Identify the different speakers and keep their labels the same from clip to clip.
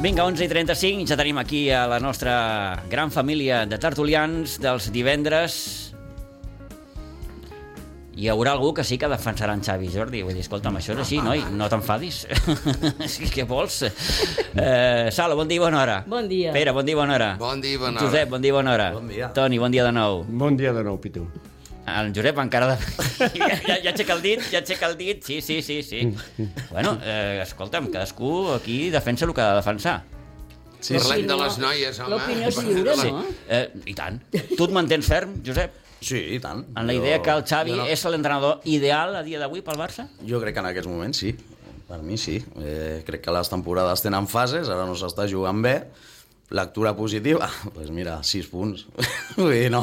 Speaker 1: Vinga, 11 i 35, ja tenim aquí a la nostra gran família de tertulians dels divendres. Hi haurà algú que sí que defensarà en Xavi Jordi. Vull dir, escolta'm, això és així, noi, no t'enfadis. És que Què vols? Eh, Sala, bon dia i bona hora.
Speaker 2: Bon dia.
Speaker 1: Pere, bon dia i bona hora.
Speaker 3: Bon dia, bona hora.
Speaker 1: Josep, bon dia i bona hora.
Speaker 4: Bon dia.
Speaker 1: Toni, bon dia de nou.
Speaker 5: Bon dia de nou, Pitu.
Speaker 1: El Josep encara... De... ja, ja, ja aixeca el dit, ja aixeca el dit, sí, sí, sí, sí. bueno, eh, escolta'm, cadascú aquí defensa el que ha de defensar.
Speaker 3: Sí, Parlem de les noies, home.
Speaker 2: L'opinió és
Speaker 3: Parlem de
Speaker 2: lliure,
Speaker 3: les-
Speaker 2: no?
Speaker 1: Eh, I tant. Tu et mantens ferm, Josep,
Speaker 4: Sí, i tant.
Speaker 1: en la idea que el Xavi
Speaker 4: jo
Speaker 1: no. és l'entrenador ideal a dia d'avui pel Barça?
Speaker 4: Jo crec que en aquests moments sí. Per mi sí. Eh, crec que les temporades tenen fases, ara no s'està jugant bé. Lectura positiva, doncs pues mira, 6 punts. Vull dir, no,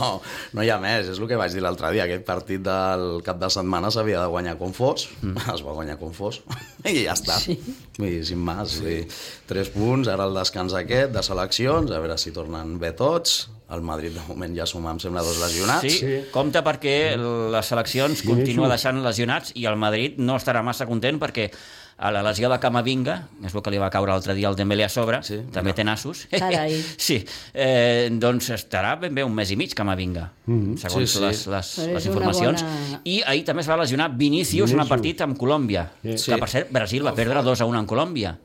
Speaker 4: no hi ha més, és el que vaig dir l'altre dia. Aquest partit del cap de setmana s'havia de guanyar com fos, mm. es va guanyar com fos, i ja està. Sí. Vull dir, sin més. Sí. 3 punts, ara el descans aquest de seleccions, a veure si tornen bé tots. El Madrid de moment ja suma, em sembla, dos lesionats.
Speaker 1: Sí, sí. compte perquè les seleccions continua deixant lesionats i el Madrid no estarà massa content perquè a la lesió de Camavinga, és el que li va caure l'altre dia al Dembélé a sobre, sí,
Speaker 4: Sí,
Speaker 1: també té nassos,
Speaker 2: Carai.
Speaker 1: sí, eh, doncs estarà ben bé un mes i mig Camavinga, mm -hmm. segons sí,
Speaker 4: Sí,
Speaker 1: sí.
Speaker 4: sí.
Speaker 1: les, les,
Speaker 2: Però
Speaker 1: les
Speaker 2: és una
Speaker 1: informacions.
Speaker 2: bona-
Speaker 1: I ahir també es va lesionar Vinícius en un
Speaker 5: Vinícius.
Speaker 1: partit amb Colòmbia, sí.
Speaker 4: Sí.
Speaker 1: que per cert Brasil va perdre 2 a 1 en Colòmbia.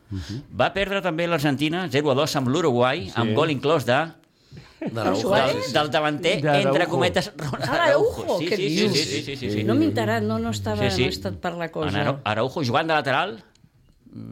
Speaker 1: Va perdre també l'Argentina 0 a 2 amb l'Uruguai, sí. amb gol inclòs de
Speaker 4: De Araujo,
Speaker 2: Suárez?
Speaker 4: sí, sí.
Speaker 1: del davanter, de
Speaker 5: D'Araujo.
Speaker 1: entre cometes, Ronald
Speaker 2: Ah, Araujo,
Speaker 1: Araujo. Sí,
Speaker 2: què
Speaker 1: sí, sí,
Speaker 2: dius?
Speaker 1: sí, sí, sí, sí, sí.
Speaker 2: No m'he enterat, no, no, estava,
Speaker 1: Sí, sí.
Speaker 2: no he estat per la
Speaker 1: En
Speaker 2: cosa.
Speaker 1: Arau- Araujo jugant de lateral,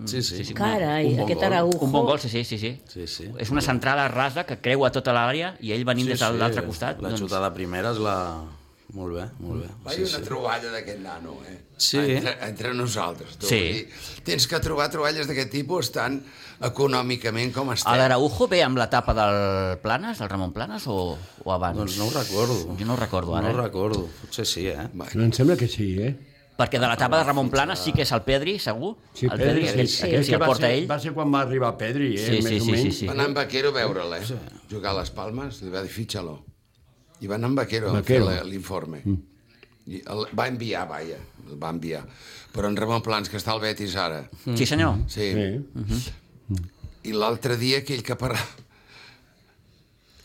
Speaker 4: Sí, sí.
Speaker 1: sí, sí.
Speaker 2: Carai,
Speaker 4: Un bon
Speaker 2: aquest
Speaker 4: gol.
Speaker 2: Araujo.
Speaker 1: un bon gol, sí, sí, sí, sí.
Speaker 4: Sí, sí.
Speaker 1: És una centrada rasa que creua tota l'àrea i ell venint sí, des de l'altre costat.
Speaker 4: La
Speaker 1: Doncs,
Speaker 4: xutada primera és la... Molt bé, molt bé.
Speaker 3: Va haver una troballa d'aquest nano, eh?
Speaker 4: Sí.
Speaker 3: Entre, entre nosaltres, tu.
Speaker 1: Sí.
Speaker 3: I Tens que trobar troballes d'aquest tipus tan econòmicament com
Speaker 1: a
Speaker 3: estem.
Speaker 1: l'Araujo ve amb l'etapa del Planes, del Ramon Planes, o, o abans?
Speaker 4: Doncs no ho recordo.
Speaker 1: Jo no ho recordo, ara,
Speaker 4: No ho
Speaker 1: eh?
Speaker 4: recordo. Potser sí, eh?
Speaker 5: Però em sembla que sí, eh?
Speaker 1: Perquè de l'etapa de Ramon Planes sí que és el Pedri, segur? el Pedri, aquell,
Speaker 5: sí.
Speaker 1: aquell
Speaker 5: És
Speaker 1: sí
Speaker 5: que
Speaker 1: el
Speaker 5: va
Speaker 1: porta
Speaker 5: ser,
Speaker 1: ell.
Speaker 5: Va ser quan va arribar Pedri, eh?
Speaker 1: Sí,
Speaker 5: més
Speaker 1: sí,
Speaker 5: o
Speaker 1: sí, sí,
Speaker 5: menys.
Speaker 1: sí.
Speaker 3: Va anar en Vaquero a veure'l, eh? Jugar a les Palmes, li va dir fitxa-lo. I va anar en Vaquero,
Speaker 5: Vaquero.
Speaker 3: a fer la- l'informe. I el, va enviar, vaja, el va enviar. Però en Ramon Plans, que està al Betis ara,
Speaker 1: Mm. Sí, senyor.
Speaker 3: sí.
Speaker 5: Sí.
Speaker 3: sí. I l'altre dia aquell que parlava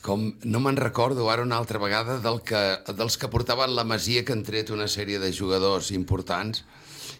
Speaker 3: com no me'n recordo ara una altra vegada del que, dels que portaven la Masia que han tret una sèrie de jugadors importants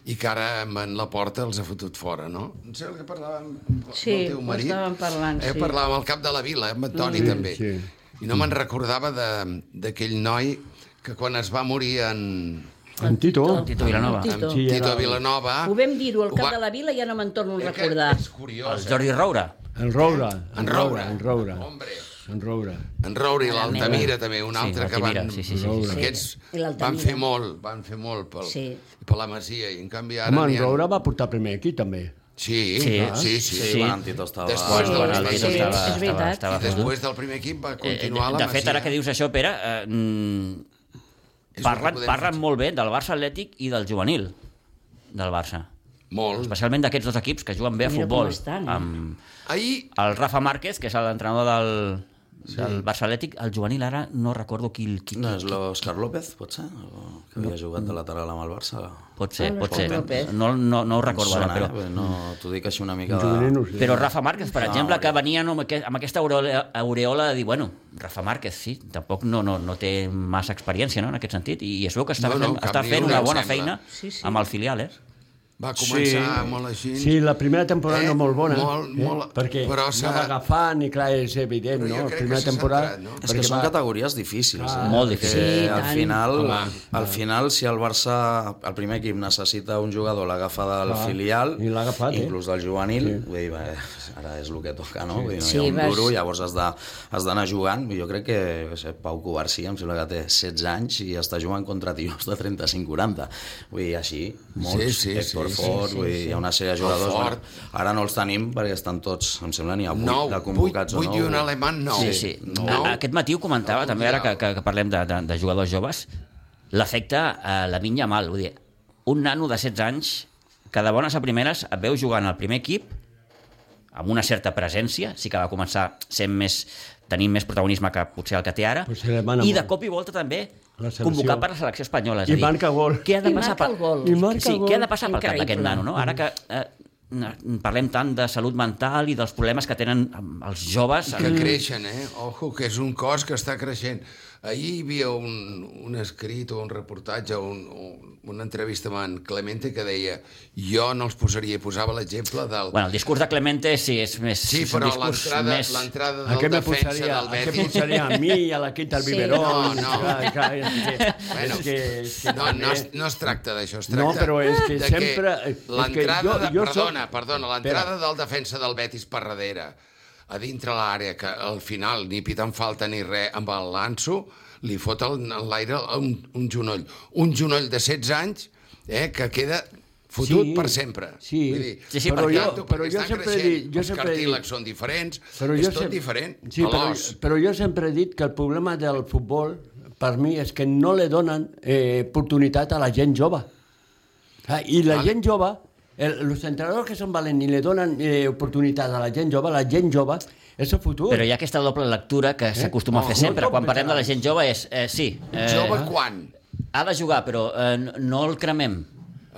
Speaker 3: i que ara en la porta els ha fotut fora, no? No sé el que parlàvem amb
Speaker 2: Sí,
Speaker 3: el teu
Speaker 2: ho
Speaker 3: marit.
Speaker 2: estàvem parlant,
Speaker 3: eh,
Speaker 2: sí.
Speaker 3: Parlàvem al cap de la vila, eh, amb en Toni també.
Speaker 5: sí.
Speaker 3: I no me'n recordava de- d'aquell noi que quan es va morir en,
Speaker 5: En Tito.
Speaker 1: Tito Vilanova.
Speaker 2: Tito.
Speaker 3: en
Speaker 5: Sí,
Speaker 3: Tito
Speaker 5: era-
Speaker 3: Vilanova...
Speaker 2: Ho vam dir-ho al
Speaker 3: ho
Speaker 2: cap
Speaker 3: va-
Speaker 2: de la vila i ja no me'n torno a
Speaker 3: Eh, que
Speaker 2: recordar.
Speaker 3: És
Speaker 1: El
Speaker 3: curiós, eh?
Speaker 1: Jordi Roura.
Speaker 5: En Roura.
Speaker 3: En Roure.
Speaker 5: En Roura.
Speaker 3: Hombre.
Speaker 5: En Roura.
Speaker 3: En Roure i l'Altamira també, un
Speaker 1: Sí,
Speaker 3: altre que
Speaker 1: l'Altamira,
Speaker 3: van...
Speaker 1: sí, sí, sí, sí,
Speaker 5: sí.
Speaker 2: I
Speaker 3: Aquests
Speaker 2: l'Altamira.
Speaker 3: van fer molt, van fer molt pel, sí.
Speaker 2: Sí.
Speaker 3: per la Masia, i en canvi ara...
Speaker 5: Home, en
Speaker 3: n'hi ha-
Speaker 5: Roura va portar primer aquí, també.
Speaker 3: Sí,
Speaker 1: Sí,
Speaker 3: sí, sí.
Speaker 4: Sí,
Speaker 3: sí.
Speaker 4: sí.
Speaker 1: Sí.
Speaker 4: Quan en Tito estava...
Speaker 3: Després
Speaker 2: Sí,
Speaker 3: del
Speaker 2: quan el
Speaker 3: primer
Speaker 2: Tito
Speaker 3: equip,
Speaker 2: estava- és veritat.
Speaker 3: i
Speaker 1: estava fotut.
Speaker 3: després del primer equip va continuar
Speaker 1: Eh,
Speaker 3: la
Speaker 1: de
Speaker 3: Masia.
Speaker 1: fet, ara que dius això, Pere, eh, mm,
Speaker 3: És el que
Speaker 1: parlen,
Speaker 3: podem
Speaker 1: parlen molt bé del Barça Atlètic i del juvenil del Barça.
Speaker 3: Molt.
Speaker 1: Especialment d'aquests dos equips que juguen bé a
Speaker 2: Mira com
Speaker 1: futbol.
Speaker 2: estan, eh?
Speaker 1: Amb
Speaker 3: Ahir,
Speaker 1: el Rafa Márquez, que és l'entrenador del, del Barça Atlètic, el juvenil ara no recordo qui, qui, qui
Speaker 4: No, és l'Òscar López, potser? O que havia jugat de lateral amb el Barça?
Speaker 1: pot ser,
Speaker 2: Ah,
Speaker 1: pot
Speaker 2: l'Òscar
Speaker 1: ser.
Speaker 2: López.
Speaker 1: No, no, no ho
Speaker 4: Em
Speaker 1: recordo ara,
Speaker 4: Sona, eh?
Speaker 1: però...
Speaker 4: Perquè No, t'ho dic així una
Speaker 3: Ah,
Speaker 4: mica
Speaker 5: En Juvenil
Speaker 4: de...
Speaker 5: no ho sé.
Speaker 1: Però Rafa Márquez, per exemple, que venia no, amb aquest- amb aquesta aureola, aureola de dir, bueno, Rafa Márquez, sí, tampoc no, no, no té massa experiència no, en aquest sentit, i es veu que està,
Speaker 3: No, no,
Speaker 1: fent,
Speaker 3: cap
Speaker 1: està
Speaker 3: ni
Speaker 1: fent
Speaker 3: una,
Speaker 1: una
Speaker 3: em
Speaker 1: bona
Speaker 3: sembla.
Speaker 1: feina
Speaker 2: Sí, sí.
Speaker 1: amb el filial, eh?
Speaker 3: va començar
Speaker 5: Sí.
Speaker 3: molt així.
Speaker 5: Sí, la primera temporada
Speaker 3: Eh,
Speaker 5: no molt bona,
Speaker 3: molt, molt,
Speaker 5: perquè
Speaker 3: però s'ha-
Speaker 5: anava agafant i clar, és evident,
Speaker 3: Però jo crec
Speaker 5: no? La
Speaker 3: que
Speaker 5: primera
Speaker 3: s'ha
Speaker 5: temporada...
Speaker 3: centrat, no?
Speaker 4: És que
Speaker 5: perquè
Speaker 4: són
Speaker 5: va-
Speaker 4: categories difícils. Eh?
Speaker 1: Molt difícil.
Speaker 4: Perquè
Speaker 2: Sí,
Speaker 4: al
Speaker 2: tant.
Speaker 4: final, al final, si el Barça, el primer equip necessita un jugador, l'agafa del
Speaker 5: Clar.
Speaker 4: filial,
Speaker 5: I l'ha agafat, eh?
Speaker 4: inclús del juvenil, vull dir, bé, ara és el que toca, no? Vull dir, no
Speaker 2: Sí,
Speaker 4: hi ha un
Speaker 2: vas-
Speaker 4: duro, llavors has de- has d'anar jugant. Jo crec que, no sé, Pau Covarsí, em sembla que té 16 anys i està jugant contra tios de 35-40. Vull dir, així, molts,
Speaker 3: sí,
Speaker 4: Héctor
Speaker 3: sí, sí,
Speaker 4: Fort, vull dir, hi ha una sèrie de jugadors.
Speaker 3: Fort.
Speaker 4: Bueno, ara no els tenim perquè estan tots, em sembla, n'hi ha vuit
Speaker 3: Nou,
Speaker 4: de
Speaker 3: vuit,
Speaker 4: convocats o
Speaker 3: vuit i
Speaker 4: nou.
Speaker 3: un alemany, nou.
Speaker 1: Sí, sí. No.
Speaker 3: Nou.
Speaker 1: Aquest matí ho comentava,
Speaker 3: No,
Speaker 1: també, ara que, que, que parlem de, de, de jugadors joves, l'efecte a la minya mal. Vull dir, un nano de 16 anys que de bones a primeres et veu jugant al primer equip amb una certa presència, sí que va començar sent més, tenint més protagonisme que potser el que té ara,
Speaker 5: Però se li mana
Speaker 1: i de
Speaker 5: molt.
Speaker 1: cop i volta també
Speaker 5: La selecció.
Speaker 1: convocar per la selecció espanyola. És a
Speaker 5: I
Speaker 1: dir,
Speaker 5: marca gol.
Speaker 1: Què ha de
Speaker 2: I
Speaker 1: passar
Speaker 2: marca el gol.
Speaker 5: I marca
Speaker 1: sí,
Speaker 5: gol.
Speaker 1: què ha de passar pel cap d'aquest
Speaker 2: Increïble.
Speaker 1: nano, no? Ara que eh, parlem tant de salut mental i dels problemes que tenen amb els joves.
Speaker 3: Que creixen, eh? Ojo, que és un cos que està creixent. Ahir hi havia un, un escrit o un reportatge o un, un, una entrevista amb en Clemente que deia jo no els posaria, i posava l'exemple del...
Speaker 1: Bueno, el discurs de Clemente sí, és més...
Speaker 3: sí,
Speaker 1: és un
Speaker 3: però
Speaker 1: discurs
Speaker 3: l'entrada
Speaker 1: més...
Speaker 3: l'entrada
Speaker 5: A
Speaker 3: del
Speaker 5: què me
Speaker 3: defensa
Speaker 5: posaria,
Speaker 3: del
Speaker 5: a què
Speaker 3: Betis...
Speaker 5: posaria a mi i a la Quinta al
Speaker 2: Sí.
Speaker 5: biberó?
Speaker 3: No, no.
Speaker 5: Clar, clar, és que,
Speaker 3: Bueno,
Speaker 5: és que, és que
Speaker 3: no, no, es, no es tracta d'això, es tracta
Speaker 5: No, però és que
Speaker 3: de
Speaker 5: sempre- és que
Speaker 3: L'entrada,
Speaker 5: jo-
Speaker 3: de-
Speaker 5: jo soc-
Speaker 3: perdona, perdona, l'entrada del defensa del Betis per darrere, a dintre l'àrea, que al final ni pitant falta ni res amb el lanço, li fot el- en l'aire un, un genoll. Un genoll de 16 anys eh, que queda fotut
Speaker 5: Sí,
Speaker 3: per sempre.
Speaker 5: sí.
Speaker 3: Vull dir,
Speaker 1: Sí, sí,
Speaker 3: per
Speaker 1: però
Speaker 3: tant,
Speaker 1: jo-
Speaker 3: tu, perquè
Speaker 5: però jo
Speaker 3: estan
Speaker 5: sempre he
Speaker 3: creixent,
Speaker 5: dit- jo
Speaker 3: els
Speaker 5: sempre he dit-
Speaker 3: cartílegs són diferents,
Speaker 5: Però
Speaker 3: és
Speaker 5: jo
Speaker 3: tot
Speaker 5: sempre-
Speaker 3: diferent.
Speaker 5: Sí, però,
Speaker 3: Alòs.
Speaker 5: però jo sempre he dit que el problema del futbol, per mi, és que no li donen eh, oportunitat a la gent jove. Ah, I la
Speaker 3: Vale.
Speaker 5: gent jove, els entrenadors que són valents i li donen eh, oportunitat a la gent jove, la gent jove és el futur.
Speaker 1: Però hi ha aquesta doble lectura que s'acostuma
Speaker 3: Oh,
Speaker 1: a fer
Speaker 5: no
Speaker 1: sempre.
Speaker 5: tot
Speaker 1: Quan parlem de la
Speaker 5: veterans.
Speaker 1: gent jove és... Eh, sí, eh,
Speaker 3: Jove quan?
Speaker 1: ha de jugar, però eh, no- no el cremem.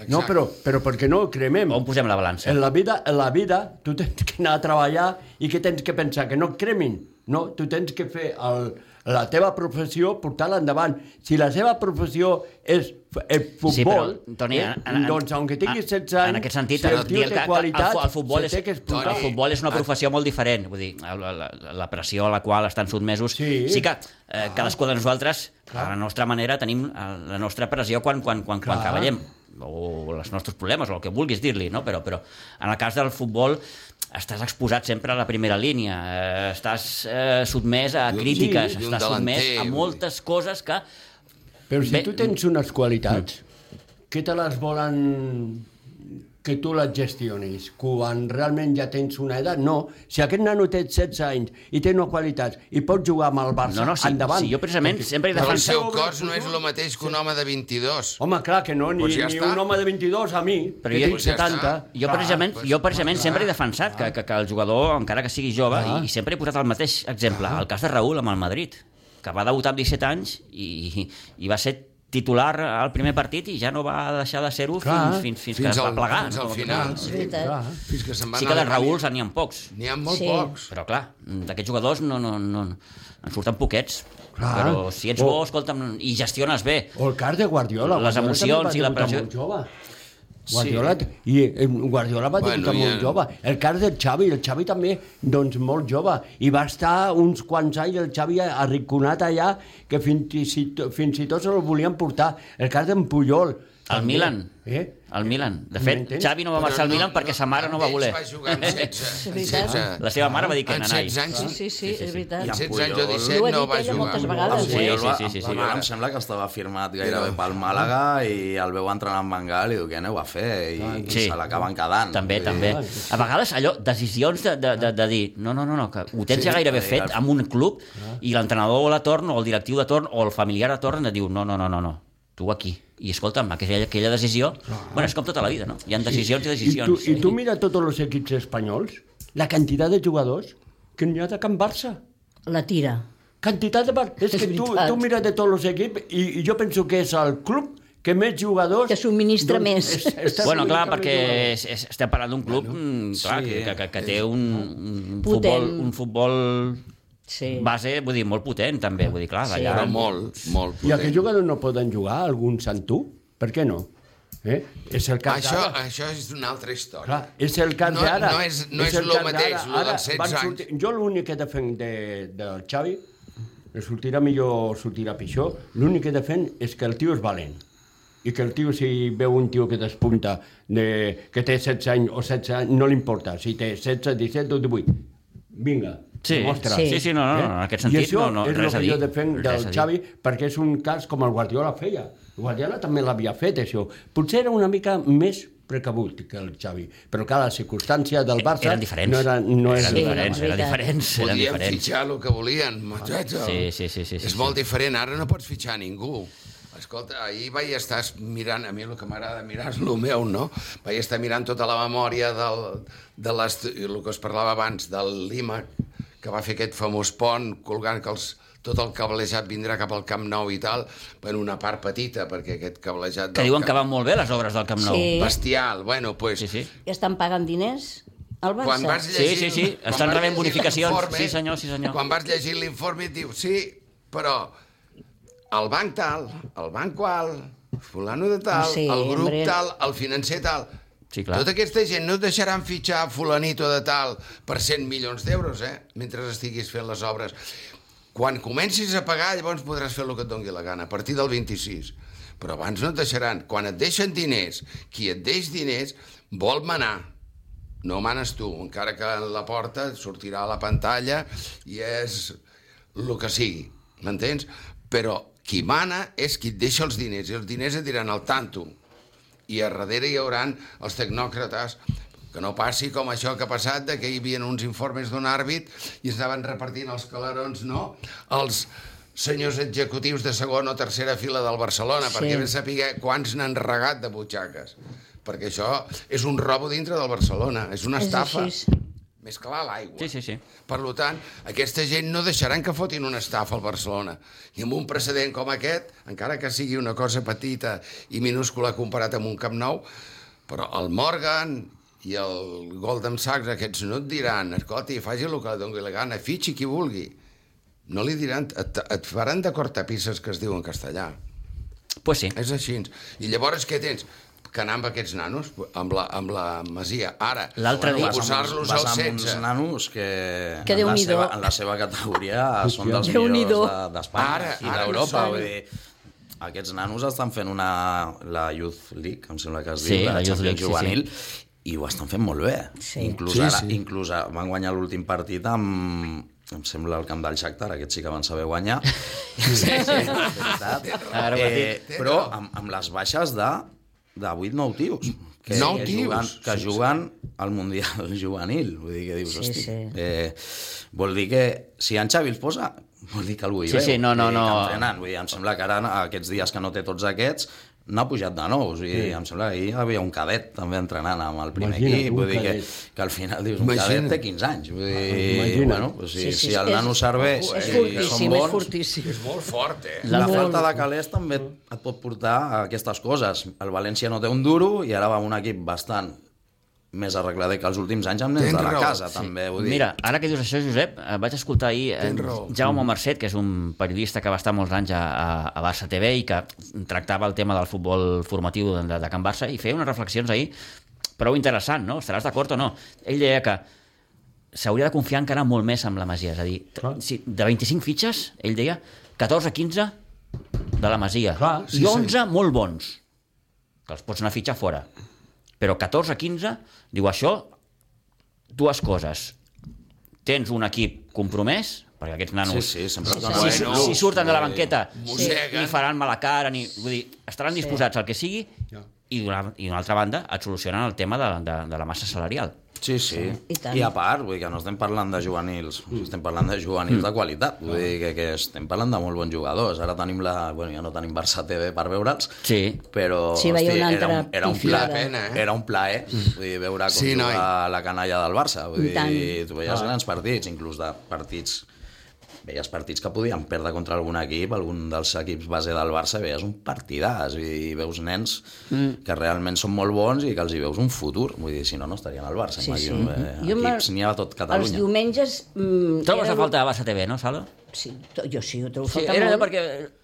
Speaker 5: No,
Speaker 3: Exacte.
Speaker 5: però, però perquè no ho cremem.
Speaker 1: On posem la balança?
Speaker 5: En la vida, en la vida, tu tens que anar a treballar i què tens que pensar? Que no et cremin. No, tu tens que fer el, la teva professió, portar-la endavant. Si la seva professió és f- el futbol,
Speaker 1: Sí, però, Toni,
Speaker 5: eh,
Speaker 1: en- en-
Speaker 5: doncs, aunque tinguis
Speaker 1: en-
Speaker 5: 16 anys,
Speaker 1: en aquest sentit,
Speaker 5: si el
Speaker 1: diem
Speaker 5: tio
Speaker 1: que- que
Speaker 5: té
Speaker 1: el,
Speaker 5: qualitat,
Speaker 1: fu- el futbol
Speaker 5: se
Speaker 1: és,
Speaker 5: té que explotar. Ah.
Speaker 1: el futbol és una professió molt diferent. Vull dir, la, la, la pressió a la qual estan sotmesos...
Speaker 5: Sí. Ah.
Speaker 1: sí que eh, cadascú de nosaltres, a la nostra manera, tenim eh, la nostra pressió quan, quan, quan, quan
Speaker 5: Clar.
Speaker 1: treballem o els nostres problemes, o el que vulguis dir-li, no? però, però en el cas del futbol estàs exposat sempre a la primera línia, eh, estàs eh, sotmès a
Speaker 3: I un-
Speaker 1: crítiques,
Speaker 3: sí, i un
Speaker 1: estàs sotmès
Speaker 3: delanter,
Speaker 1: a
Speaker 3: vull dir.
Speaker 1: moltes coses que
Speaker 5: Però si
Speaker 1: Bé,
Speaker 5: tu tens unes qualitats, que te les volen que tu les gestionis, quan realment ja tens una edat, no. Si aquest nano té 16 anys i té no qualitats i pot jugar amb el Barça,
Speaker 1: No, no, sí,
Speaker 5: endavant.
Speaker 1: sí, jo precisament sempre he
Speaker 3: Però el
Speaker 1: defensat...
Speaker 3: seu cos no és el mateix que un home de 22.
Speaker 5: Home, clar que no, ni,
Speaker 3: Doncs ja
Speaker 5: ni
Speaker 3: està.
Speaker 5: un home de 22 a mi,
Speaker 1: Però
Speaker 5: que
Speaker 1: jo-
Speaker 5: tinc
Speaker 1: Doncs ja
Speaker 5: 70.
Speaker 3: està.
Speaker 1: Jo precisament,
Speaker 3: pues,
Speaker 1: jo precisament sempre he defensat que, que, que el jugador, encara que sigui jove,
Speaker 3: Ah.
Speaker 5: Clar.
Speaker 1: i, i sempre he posat el mateix exemple, el cas de Raül amb el Madrid, que va debutar amb 17 anys i, i va ser titular al primer partit i ja no va deixar de ser-ho fins,
Speaker 5: Clar.
Speaker 1: fins, fins, que es va
Speaker 3: al-
Speaker 1: plegar.
Speaker 3: Fins
Speaker 1: no?
Speaker 3: al final.
Speaker 2: És veritat.
Speaker 5: Clar.
Speaker 3: Fins que se'n va
Speaker 1: Sí que de
Speaker 3: anar a la
Speaker 1: Raül n'hi ha pocs,
Speaker 3: N'hi ha molt
Speaker 2: Sí.
Speaker 3: pocs.
Speaker 1: però clar, d'aquests jugadors no, no, no, en surten poquets.
Speaker 5: Clar.
Speaker 1: Però si
Speaker 3: Oh.
Speaker 1: ets bo, escolta'm, i gestiones bé.
Speaker 5: O el cas de Guardiola.
Speaker 1: Les
Speaker 5: Guardiola
Speaker 1: emocions
Speaker 5: també va
Speaker 1: i la
Speaker 5: debutar
Speaker 1: pressió.
Speaker 5: Molt jove. Guardiola, sí. i eh, Guardiola va
Speaker 3: Bueno,
Speaker 5: bueno, debutar
Speaker 3: i
Speaker 5: molt
Speaker 3: el-
Speaker 5: jove. El cas del Xavi, el Xavi també, doncs molt jove. I va estar uns quants anys el Xavi arrinconat allà, que fins i, si, to- fins i tot se el volien portar. El cas d'en Puyol.
Speaker 1: Al
Speaker 5: també.
Speaker 1: Milan.
Speaker 5: Eh?
Speaker 1: Al Milan. De fet,
Speaker 5: M'entens?
Speaker 1: Xavi no va
Speaker 3: Però
Speaker 1: marxar al Milan perquè sa mare no va
Speaker 3: amb
Speaker 1: voler.
Speaker 3: ells va jugar amb 16. amb
Speaker 2: veritat.
Speaker 3: 16.
Speaker 1: La seva mare va dir que
Speaker 3: En
Speaker 1: nanai.
Speaker 3: 16 anys,
Speaker 2: Sí, sí, sí,
Speaker 1: sí,
Speaker 2: és
Speaker 1: sí.
Speaker 2: veritat.
Speaker 3: en
Speaker 4: Ja.
Speaker 3: 16 anys o
Speaker 4: Puyol.
Speaker 3: 17
Speaker 2: Ho ha
Speaker 3: no
Speaker 2: dit
Speaker 3: va
Speaker 2: ella
Speaker 3: jugar.
Speaker 2: moltes
Speaker 1: Ah,
Speaker 2: vegades,
Speaker 1: sí,
Speaker 2: eh?
Speaker 4: Puyol va,
Speaker 1: sí, sí, sí,
Speaker 4: la
Speaker 1: sí.
Speaker 4: mare em sembla que estava firmat gairebé pel Màlaga i el veu entrenar amb Bengal i diu que aneu a fer i, i
Speaker 1: Sí.
Speaker 4: se l'acaben quedant.
Speaker 1: També,
Speaker 4: Vull
Speaker 1: també.
Speaker 4: dir,
Speaker 1: A vegades, allò, decisions de, de, de, de dir no, no, no, no que ho tens
Speaker 4: Sí,
Speaker 1: ja gairebé
Speaker 4: sí,
Speaker 1: fet
Speaker 4: clar.
Speaker 1: amb un club i l'entrenador de torn o el directiu de torn o el familiar de torn et diu no, no, no, no, no tu aquí. I escolta'm, aquella, aquella decisió... Bueno, és com tota la vida, no? Hi ha decisions i
Speaker 5: I tu,
Speaker 1: decisions.
Speaker 5: I tu mira tots els equips espanyols, la quantitat de jugadors que n'hi ha de Can Barça.
Speaker 2: La tira.
Speaker 5: Quantitat de part. És,
Speaker 2: És
Speaker 5: que tu,
Speaker 2: veritat.
Speaker 5: tu mires de tots els equips i, i jo penso que és el club que més jugadors... doncs,
Speaker 2: Que subministra més.
Speaker 5: està
Speaker 1: Bueno, clar,
Speaker 5: subministrant
Speaker 1: perquè
Speaker 5: més
Speaker 1: és,
Speaker 5: jugadors.
Speaker 1: és, estem parlant d'un club mm, clar,
Speaker 4: sí,
Speaker 1: que, que, que, que té un, un, futbol,
Speaker 2: Potent.
Speaker 1: un futbol
Speaker 2: Sí.
Speaker 1: base, vull dir, molt potent, també. Vull dir, clar,
Speaker 2: Sí.
Speaker 1: d'allà...
Speaker 3: Però molt, molt
Speaker 5: I
Speaker 3: potent.
Speaker 5: aquests jugadors no poden jugar, alguns en tu? Per què no? Eh? És el cas
Speaker 3: Això,
Speaker 5: d'ara.
Speaker 3: això és una altra història.
Speaker 5: Clar, és el cas
Speaker 3: No-
Speaker 5: d'ara.
Speaker 3: no és- no és
Speaker 5: el
Speaker 3: lo
Speaker 5: cas
Speaker 3: mateix,
Speaker 5: d'ara.
Speaker 3: lo
Speaker 5: Ara
Speaker 3: dels 16
Speaker 5: van sortir- Jo l'únic que defenc de, del Xavi, que sortirà millor o sortirà pitjor, l'únic que defenc és que el tio és valent i que el tio, si veu un tio que despunta, de, que té 16 anys o 16 anys, no li importa, si té 16, 17 o 18, vinga,
Speaker 1: Sí,
Speaker 5: demostra.
Speaker 1: sí, sí, no, no, no, en aquest
Speaker 5: I
Speaker 1: sentit
Speaker 5: això
Speaker 1: no- no,
Speaker 5: és
Speaker 1: res a
Speaker 5: el que
Speaker 1: dir,
Speaker 5: jo defenc
Speaker 1: res
Speaker 5: del
Speaker 1: a dir.
Speaker 5: Xavi, perquè és un cas com el Guardiola feia. El Guardiola també l'havia fet, això. Potser era una mica més precabut que el Xavi, però clar, les circumstàncies del Barça...
Speaker 1: e-, Eren diferents.
Speaker 5: No era, no
Speaker 1: eren
Speaker 5: era,
Speaker 2: Sí,
Speaker 1: diferents,
Speaker 2: era
Speaker 1: eren
Speaker 2: veritat.
Speaker 1: diferents, eren
Speaker 3: Podien
Speaker 1: diferents.
Speaker 3: fitxar el que volien, muchacho.
Speaker 1: Sí, sí, sí, sí, sí,
Speaker 3: és
Speaker 1: sí.
Speaker 3: molt diferent, ara no pots fitxar ningú. Escolta, ahir vaig estar mirant, a mi el que m'agrada mirar és el meu, no? Vaig estar mirant tota la memòria del, de les, el que es parlava abans, del Lima, que va fer aquest famós pont colgant que els, tot el cablejat vindrà cap al Camp Nou i tal, en una part petita, perquè aquest cablejat...
Speaker 1: Que diuen que van molt bé les obres del Camp Nou.
Speaker 2: Sí.
Speaker 3: Bestial, bueno, pues,
Speaker 1: Sí, sí.
Speaker 2: I estan pagant diners al Barça.
Speaker 3: quan vas
Speaker 1: Sí,
Speaker 3: llegir...
Speaker 1: sí, sí,
Speaker 3: quan
Speaker 1: estan
Speaker 3: vas
Speaker 1: rebent
Speaker 3: llegir
Speaker 1: bonificacions.
Speaker 3: l'informe-
Speaker 1: Sí, senyor, sí, senyor.
Speaker 3: Quan vas llegir l'informe et diu, sí, però el banc tal, el banc qual, fulano de tal,
Speaker 2: Sí,
Speaker 3: el grup
Speaker 2: hombre.
Speaker 3: tal, el financer tal...
Speaker 1: Sí, clar.
Speaker 3: Tota aquesta gent no et deixaran fitxar fulanito de tal per 100 milions d'euros, eh? Mentre estiguis fent les obres. Quan comencis a pagar, llavors podràs fer el que et doni la gana, a partir del 26. Però abans no et deixaran. Quan et deixen diners, qui et deix diners vol manar. No manes tu, encara que en la porta sortirà a la pantalla i és el que sigui, m'entens? Però qui mana és qui et deixa els diners, i els diners et diran al tanto. I a darrere hi hauran els tecnòcrates, que no passi com això que ha passat, de que hi havia uns informes d'un àrbit i estaven repartint els calarons, no? Els senyors executius de segona o tercera fila del Barcelona,
Speaker 2: Sí.
Speaker 3: perquè ben sàpiga quants n'han regat de butxaques. Perquè això és un robo dintre del Barcelona, és una
Speaker 2: És
Speaker 3: estafa.
Speaker 2: així.
Speaker 3: Més clar, l'aigua.
Speaker 1: Sí, sí, sí.
Speaker 3: Per lo tant, aquesta gent no deixaran que fotin una estafa al Barcelona. I amb un precedent com aquest, encara que sigui una cosa petita i minúscula comparat amb un Camp Nou, però el Morgan i el Golden Sachs, aquests no et diran, escolti, faci el que li doni la gana, fitxi qui vulgui. No li diran, et, et faran de cortapisses que es diu en castellà.
Speaker 1: Pues sí.
Speaker 3: És així. I llavors què tens? Que anar amb aquests nanos, amb la, amb la masia. Ara,
Speaker 1: L'altre dia-
Speaker 3: a posar-los
Speaker 4: vas
Speaker 3: al
Speaker 4: amb uns
Speaker 3: 16.
Speaker 4: nanos que,
Speaker 2: Que
Speaker 4: en, la
Speaker 2: Déu-n'hi-do.
Speaker 4: seva, en la seva categoria són dels
Speaker 2: Déu-n'hi-do.
Speaker 4: millors de- d'Espanya
Speaker 3: Ara,
Speaker 4: i
Speaker 3: ara
Speaker 4: d'Europa.
Speaker 3: no
Speaker 4: Vull dir, aquests nanos estan fent una, la Youth League, em sembla que es diu,
Speaker 1: Sí, la Youth
Speaker 4: Champions
Speaker 1: League, sí,
Speaker 4: juvenil, i ho estan fent molt bé.
Speaker 2: Sí.
Speaker 4: Inclús,
Speaker 5: Sí,
Speaker 4: ara,
Speaker 5: sí.
Speaker 4: inclús a- van guanyar l'últim partit amb em sembla el camp del Shakhtar, aquests sí que van saber guanyar. Sí, sí, és veritat.
Speaker 1: Ara ho has
Speaker 4: Eh, però amb, amb les baixes de, de 8-9 tios. Que,
Speaker 3: Nou
Speaker 4: que
Speaker 3: tios.
Speaker 4: Juguen, que
Speaker 3: Sí, sí.
Speaker 4: juguen al Mundial Juvenil. Vull dir que dius,
Speaker 2: Sí,
Speaker 4: hosti,
Speaker 2: sí.
Speaker 4: Eh, vol dir que si en Xavi els posa, vol dir que algú hi
Speaker 1: Sí,
Speaker 4: veu.
Speaker 1: sí, no, no,
Speaker 4: vull dir que
Speaker 1: no.
Speaker 4: Entrenen. Vull dir, em sembla que ara, aquests dies que no té tots aquests, n'ha pujat de nous. Vull dir, em sembla que ahir hi havia un cadet també entrenant amb el primer
Speaker 5: Imagina't,
Speaker 4: equip.
Speaker 5: un
Speaker 4: Vull dir que,
Speaker 5: cadet. Ah,
Speaker 4: que al final dius, un
Speaker 3: Imagina't.
Speaker 4: cadet té 15 anys. Vull dir,
Speaker 5: Imagina't.
Speaker 4: bueno, doncs, si,
Speaker 2: Sí, sí,
Speaker 4: si el
Speaker 2: és-
Speaker 4: nano serveix
Speaker 2: És
Speaker 4: i
Speaker 2: fortíssim,
Speaker 4: són bons,
Speaker 2: és fortíssim.
Speaker 3: És molt fort, eh?
Speaker 4: la
Speaker 2: Molt.
Speaker 4: falta de calés també et, et pot portar a aquestes coses. El València no té un duro i ara va amb un equip bastant més arregladet que els últims anys amb nens
Speaker 3: Tens
Speaker 4: de la
Speaker 3: raó,
Speaker 4: casa, també. Vull dir. Mm.
Speaker 1: Mira, ara que dius això, Josep, eh, vaig escoltar ahir eh,
Speaker 3: Tens raó.
Speaker 1: Jaume Mercet, que és un periodista que va estar molts anys a, a, a Barça TV i que tractava el tema del futbol formatiu de, de, de Can Barça i feia unes reflexions ahir prou interessant, no? Estaràs d'acord o no? Ell deia que s'hauria de confiar encara molt més amb la Masia, és a dir, t-
Speaker 5: Clar.
Speaker 1: si de 25 fitxes, ell deia, 14-15 de la Masia
Speaker 5: Clar,
Speaker 1: i 11 molt bons, que els pots anar a fitxar fora. Però 14-15, diu això, dues coses. Tens un equip compromès, perquè aquests
Speaker 4: Sí,
Speaker 1: nanos...
Speaker 4: sí, sempre...
Speaker 2: Sí,
Speaker 1: Si,
Speaker 2: sí.
Speaker 1: si,
Speaker 3: Bueno,
Speaker 1: si surten de la banqueta,
Speaker 3: mosseguen.
Speaker 1: ni faran mala cara, ni, vull dir, estaran disposats al que sigui, i d'una i d'una altra banda et solucionen el tema de, de, de la massa salarial.
Speaker 4: Sí, sí.
Speaker 2: I tant. Mm.
Speaker 4: I, a part, vull dir que no estem parlant de juvenils, estem parlant de juvenils de qualitat,
Speaker 2: Ah.
Speaker 4: vull dir que, que estem parlant de molt bons jugadors. Ara tenim la... Bueno, ja no tenim Barça TV per veure'ls,
Speaker 1: Sí.
Speaker 4: però
Speaker 2: Sí, veia una
Speaker 4: era, un,
Speaker 2: altra
Speaker 4: era, un
Speaker 2: pifiada.
Speaker 3: Era
Speaker 4: plaer,
Speaker 3: pena, eh?
Speaker 4: era un plaer vull dir, veure com
Speaker 3: Sí,
Speaker 4: sí,
Speaker 3: noi.
Speaker 4: la canalla del Barça. Vull
Speaker 2: I
Speaker 4: dir,
Speaker 2: tant.
Speaker 4: tu veies grans partits, inclús de partits veies partits que podien perdre contra algun equip, algun dels equips base del Barça, i veies un partidàs i veus nens mm. que realment són molt bons i que els hi veus un futur. Vull dir, si no, no estarien al Barça.
Speaker 2: Sí,
Speaker 4: Sí,
Speaker 2: sí.
Speaker 4: sí. Eh,
Speaker 2: Jo me-
Speaker 4: equips n'hi ha a tot
Speaker 2: Els
Speaker 4: Catalunya.
Speaker 2: diumenges... Mm,
Speaker 1: Trobes
Speaker 2: era
Speaker 1: a falta de Barça TV, no, Sala?
Speaker 2: Sí, to- jo sí, ho trobo
Speaker 1: Sí,
Speaker 2: sí, falta
Speaker 1: era allò
Speaker 2: molt.
Speaker 1: perquè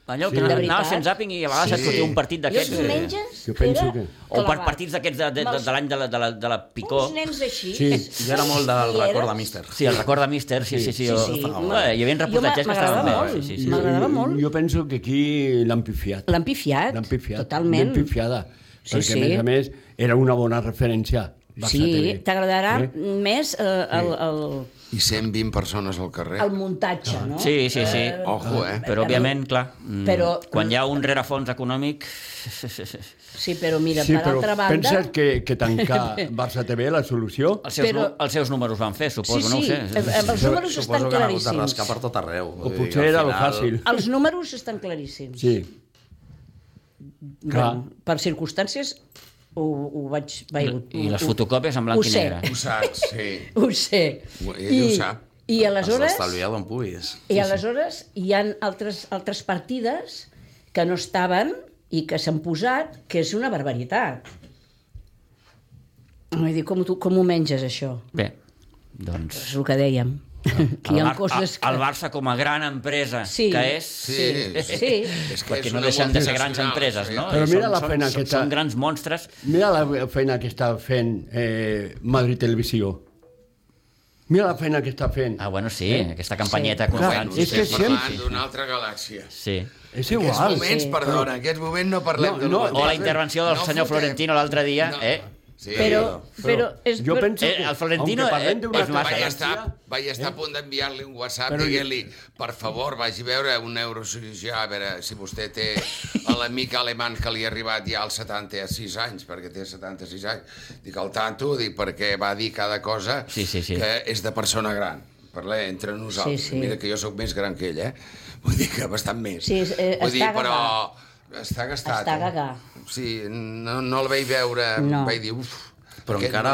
Speaker 1: allò que
Speaker 5: Sí.
Speaker 1: anaves
Speaker 2: veritat.
Speaker 1: fent zàping i a vegades et sortia un partit
Speaker 2: Jo els
Speaker 1: d'aquests... eh,
Speaker 2: diumenges
Speaker 5: Jo penso
Speaker 2: era...
Speaker 5: que-
Speaker 1: O per
Speaker 2: clavat.
Speaker 1: partits d'aquests de, de, de, de l'any de, la, de, la, de la Picó.
Speaker 2: Uns nens així...
Speaker 5: Sí.
Speaker 4: Jo era molt
Speaker 2: I
Speaker 4: del
Speaker 2: era-
Speaker 4: record de Míster.
Speaker 1: Sí, el record de Míster, sí, sí, sí.
Speaker 2: Sí,
Speaker 1: o-
Speaker 2: sí.
Speaker 1: Ah, Home, hi havia reportatges
Speaker 2: Jo
Speaker 1: que estaven
Speaker 2: m'agradava
Speaker 1: bé.
Speaker 2: molt.
Speaker 1: Sí, sí, sí.
Speaker 2: M'agradava
Speaker 5: Jo-
Speaker 2: molt.
Speaker 5: Jo penso que aquí l'han pifiat.
Speaker 2: L'han pifiat,
Speaker 5: L'han pifiat.
Speaker 2: totalment.
Speaker 5: L'han pifiada.
Speaker 2: Sí, sí.
Speaker 5: perquè, a més a més, era una bona referència. Barça
Speaker 2: Sí,
Speaker 5: TV.
Speaker 2: t'agradarà
Speaker 5: Eh?
Speaker 2: més eh, el, el,
Speaker 3: I 120 persones al carrer.
Speaker 2: el muntatge, no?
Speaker 1: Sí, sí, sí.
Speaker 3: Ojo, eh?
Speaker 1: Però, òbviament, clar, mm,
Speaker 2: Però- eh,
Speaker 1: quan hi ha un rerefons econòmic...
Speaker 2: Sí, però mira,
Speaker 5: Sí,
Speaker 2: per
Speaker 5: però
Speaker 2: altra banda...
Speaker 5: penses que, que tancar Barça TV la solució?
Speaker 1: Els seus,
Speaker 2: Però-
Speaker 1: però... els seus números van fer,
Speaker 2: Sí,
Speaker 1: suposo,
Speaker 2: sí,
Speaker 1: no ho sé.
Speaker 2: eh, els números estan
Speaker 4: Suposo que han hagut de
Speaker 2: claríssims.
Speaker 4: rascar per tot arreu.
Speaker 5: O
Speaker 4: vull dir
Speaker 5: potser
Speaker 4: que al
Speaker 5: era el fàcil.
Speaker 2: Els números estan claríssims.
Speaker 5: Sí. Clar.
Speaker 2: Bueno, per circumstàncies ho, ho vaig... Vai, ho,
Speaker 1: I les
Speaker 2: ho-
Speaker 1: fotocòpies en blanc
Speaker 2: ho
Speaker 1: i
Speaker 2: sé.
Speaker 1: negre.
Speaker 3: Ho saps, sí.
Speaker 2: Ho sé.
Speaker 3: Ho- ell ho sap.
Speaker 2: I aleshores...
Speaker 4: Has d'estalviar d'on puguis.
Speaker 2: I aleshores hi han altres, altres partides que no estaven i que s'han posat, que és una barbaritat. Vull dir, com, tu, com ho menges, això?
Speaker 1: Bé, doncs...
Speaker 2: És el que dèiem. Que hi
Speaker 1: el,
Speaker 2: ha
Speaker 1: Bar-
Speaker 2: coses
Speaker 1: el-
Speaker 2: que...
Speaker 1: el Barça com a gran empresa
Speaker 2: Sí.
Speaker 1: que és...
Speaker 3: Sí,
Speaker 2: Sí.
Speaker 3: És que
Speaker 1: perquè
Speaker 3: és
Speaker 1: no
Speaker 3: una
Speaker 1: deixen de ser
Speaker 3: multinacional,
Speaker 1: grans empreses,
Speaker 3: sí.
Speaker 1: no?
Speaker 5: Però
Speaker 1: I
Speaker 5: mira
Speaker 1: són,
Speaker 5: la
Speaker 1: són-
Speaker 5: feina
Speaker 1: són,
Speaker 5: que està-
Speaker 1: Són grans monstres.
Speaker 5: Mira la feina que està fent eh, Madrid Televisió. Mira la feina que està fent.
Speaker 1: Ah, bueno, sí, aquesta campanyeta
Speaker 5: Clar,
Speaker 1: constant.
Speaker 5: és que
Speaker 1: sí,
Speaker 3: parlant
Speaker 5: sempre-
Speaker 3: d'una altra galàxia.
Speaker 1: Sí.
Speaker 5: És
Speaker 3: En aquests
Speaker 5: igual.
Speaker 3: moments,
Speaker 2: sí.
Speaker 3: perdona, en aquests moments no parlem
Speaker 5: No,
Speaker 3: del
Speaker 5: no,
Speaker 1: O
Speaker 3: mateix.
Speaker 1: la intervenció del
Speaker 3: No
Speaker 1: senyor
Speaker 3: fotem.
Speaker 1: Florentino l'altre dia,
Speaker 3: No.
Speaker 1: eh?
Speaker 3: Sí.
Speaker 2: Però, però, és,
Speaker 5: jo penso
Speaker 1: Eh,
Speaker 5: que,
Speaker 1: el Florentino,
Speaker 5: aunque parlem
Speaker 1: eh,
Speaker 5: d'una
Speaker 1: és massa.
Speaker 3: Vaig
Speaker 5: altra
Speaker 3: estar,
Speaker 5: galàxia,
Speaker 3: vaig
Speaker 2: Eh?
Speaker 3: estar a punt d'enviar-li un WhatsApp
Speaker 5: Però-
Speaker 3: però... dient-li, per favor, vagi a veure un neurocirurgià, a veure si vostè té a l'amic alemany que li ha arribat ja als 76 anys, perquè té 76 anys. Dic, al tanto, dic, perquè va dir cada cosa
Speaker 1: Sí, sí, sí.
Speaker 3: que és de persona gran. Parla entre nosaltres.
Speaker 2: Sí, sí.
Speaker 3: Mira que jo sóc més gran que ell, eh? Vull dir que bastant més.
Speaker 2: Sí, és- eh,
Speaker 3: Vull dir,
Speaker 2: està
Speaker 3: però...
Speaker 2: gaga.
Speaker 3: Està gastat.
Speaker 2: Està
Speaker 3: eh?
Speaker 2: gaga.
Speaker 3: Sí, no, no el vaig veure,
Speaker 2: No.
Speaker 3: vaig dir, uf,
Speaker 4: Però
Speaker 3: aquest
Speaker 4: encara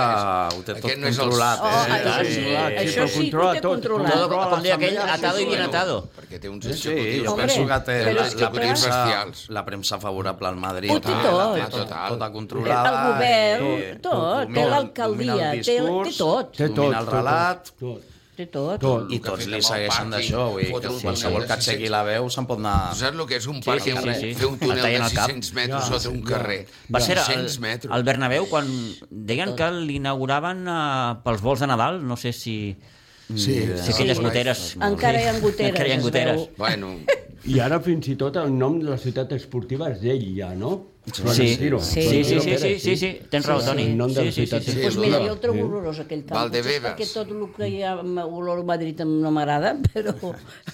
Speaker 3: és-
Speaker 4: ho té tot
Speaker 3: aquest no és el-
Speaker 4: controlat,
Speaker 2: Oh,
Speaker 4: eh?
Speaker 2: això sí,
Speaker 5: sí,
Speaker 2: això
Speaker 5: però
Speaker 2: sí, ho
Speaker 5: controla
Speaker 2: té
Speaker 5: tot,
Speaker 2: controlat.
Speaker 5: controla.
Speaker 1: Todo, com deia aquell, atado i bien
Speaker 3: Bueno,
Speaker 1: atado.
Speaker 3: Perquè té uns
Speaker 4: Sí, sí,
Speaker 3: executius.
Speaker 4: jo
Speaker 2: Hombre,
Speaker 4: penso que té
Speaker 2: però
Speaker 4: la,
Speaker 2: és que
Speaker 4: la,
Speaker 2: clar-
Speaker 4: premsa,
Speaker 3: bestials.
Speaker 4: la premsa favorable al Madrid.
Speaker 2: Ho té
Speaker 4: la-
Speaker 2: tot.
Speaker 4: la- tota, tota controlada.
Speaker 2: El govern,
Speaker 4: eh,
Speaker 2: tot, té
Speaker 4: domina-
Speaker 2: l'alcaldia,
Speaker 4: domina el
Speaker 2: té- té
Speaker 4: discurs,
Speaker 2: tot.
Speaker 5: Té tot,
Speaker 4: Domina el
Speaker 5: tot,
Speaker 4: relat,
Speaker 5: Tot.
Speaker 2: Té tot.
Speaker 5: Tot.
Speaker 4: i
Speaker 3: que ha
Speaker 4: tots
Speaker 3: fet
Speaker 4: li
Speaker 3: amb el
Speaker 4: segueixen
Speaker 3: pàrquing,
Speaker 4: d'això, vull dir
Speaker 3: fotre
Speaker 4: que
Speaker 3: un
Speaker 4: qualsevol
Speaker 3: túnel
Speaker 4: que
Speaker 3: de
Speaker 4: aixequi
Speaker 3: 600.
Speaker 4: la veu se'n pot anar...
Speaker 3: Tu saps el que és un parc
Speaker 1: sí,
Speaker 3: sí,
Speaker 1: sí, sí.
Speaker 3: fer un túnel
Speaker 1: El tallen
Speaker 3: de
Speaker 1: al cap.
Speaker 3: 600 metres
Speaker 5: Ja,
Speaker 3: sota un
Speaker 5: ja.
Speaker 3: carrer?
Speaker 1: Va ser al,
Speaker 3: 600 metres.
Speaker 1: al Bernabéu quan deien que l'inauguraven eh, pels vols de Nadal, no sé si...
Speaker 3: Sí,
Speaker 1: Si aquelles goteres...
Speaker 2: Encara hi ha goteres,
Speaker 1: Encara hi ha
Speaker 2: es
Speaker 1: goteres.
Speaker 2: veu.
Speaker 3: Bueno,
Speaker 5: I ara fins i tot el nom de la ciutat esportiva és d'ell ja, no?
Speaker 1: Sí,
Speaker 5: Florentino.
Speaker 1: sí, sí, sí, sí, sí, sí, sí. tens raó,
Speaker 5: Sí,
Speaker 1: Toni.
Speaker 5: sí, el nom de la
Speaker 1: Sí, sí, sí,
Speaker 5: ciutat.
Speaker 1: sí.
Speaker 3: Sí.
Speaker 2: Doncs mira,
Speaker 3: l'olor.
Speaker 2: jo el trobo
Speaker 5: Sí.
Speaker 2: horrorós, aquell camp.
Speaker 3: Valdebebas.
Speaker 2: Potser és Perquè tot el que hi ha amb olor a Madrid em- no m'agrada, però